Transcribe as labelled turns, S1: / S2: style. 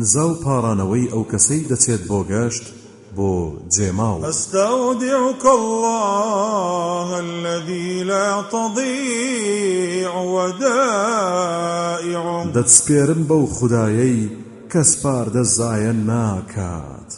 S1: نزاو پارانەوەی ئەو کەسەی دەچێت بۆ گەشت بۆ جێماوە
S2: أستودعك الله الذي لا تضيع ودائعه
S1: دەتسپێرم بەو خودایەی کەسپار دەزایەن ناکات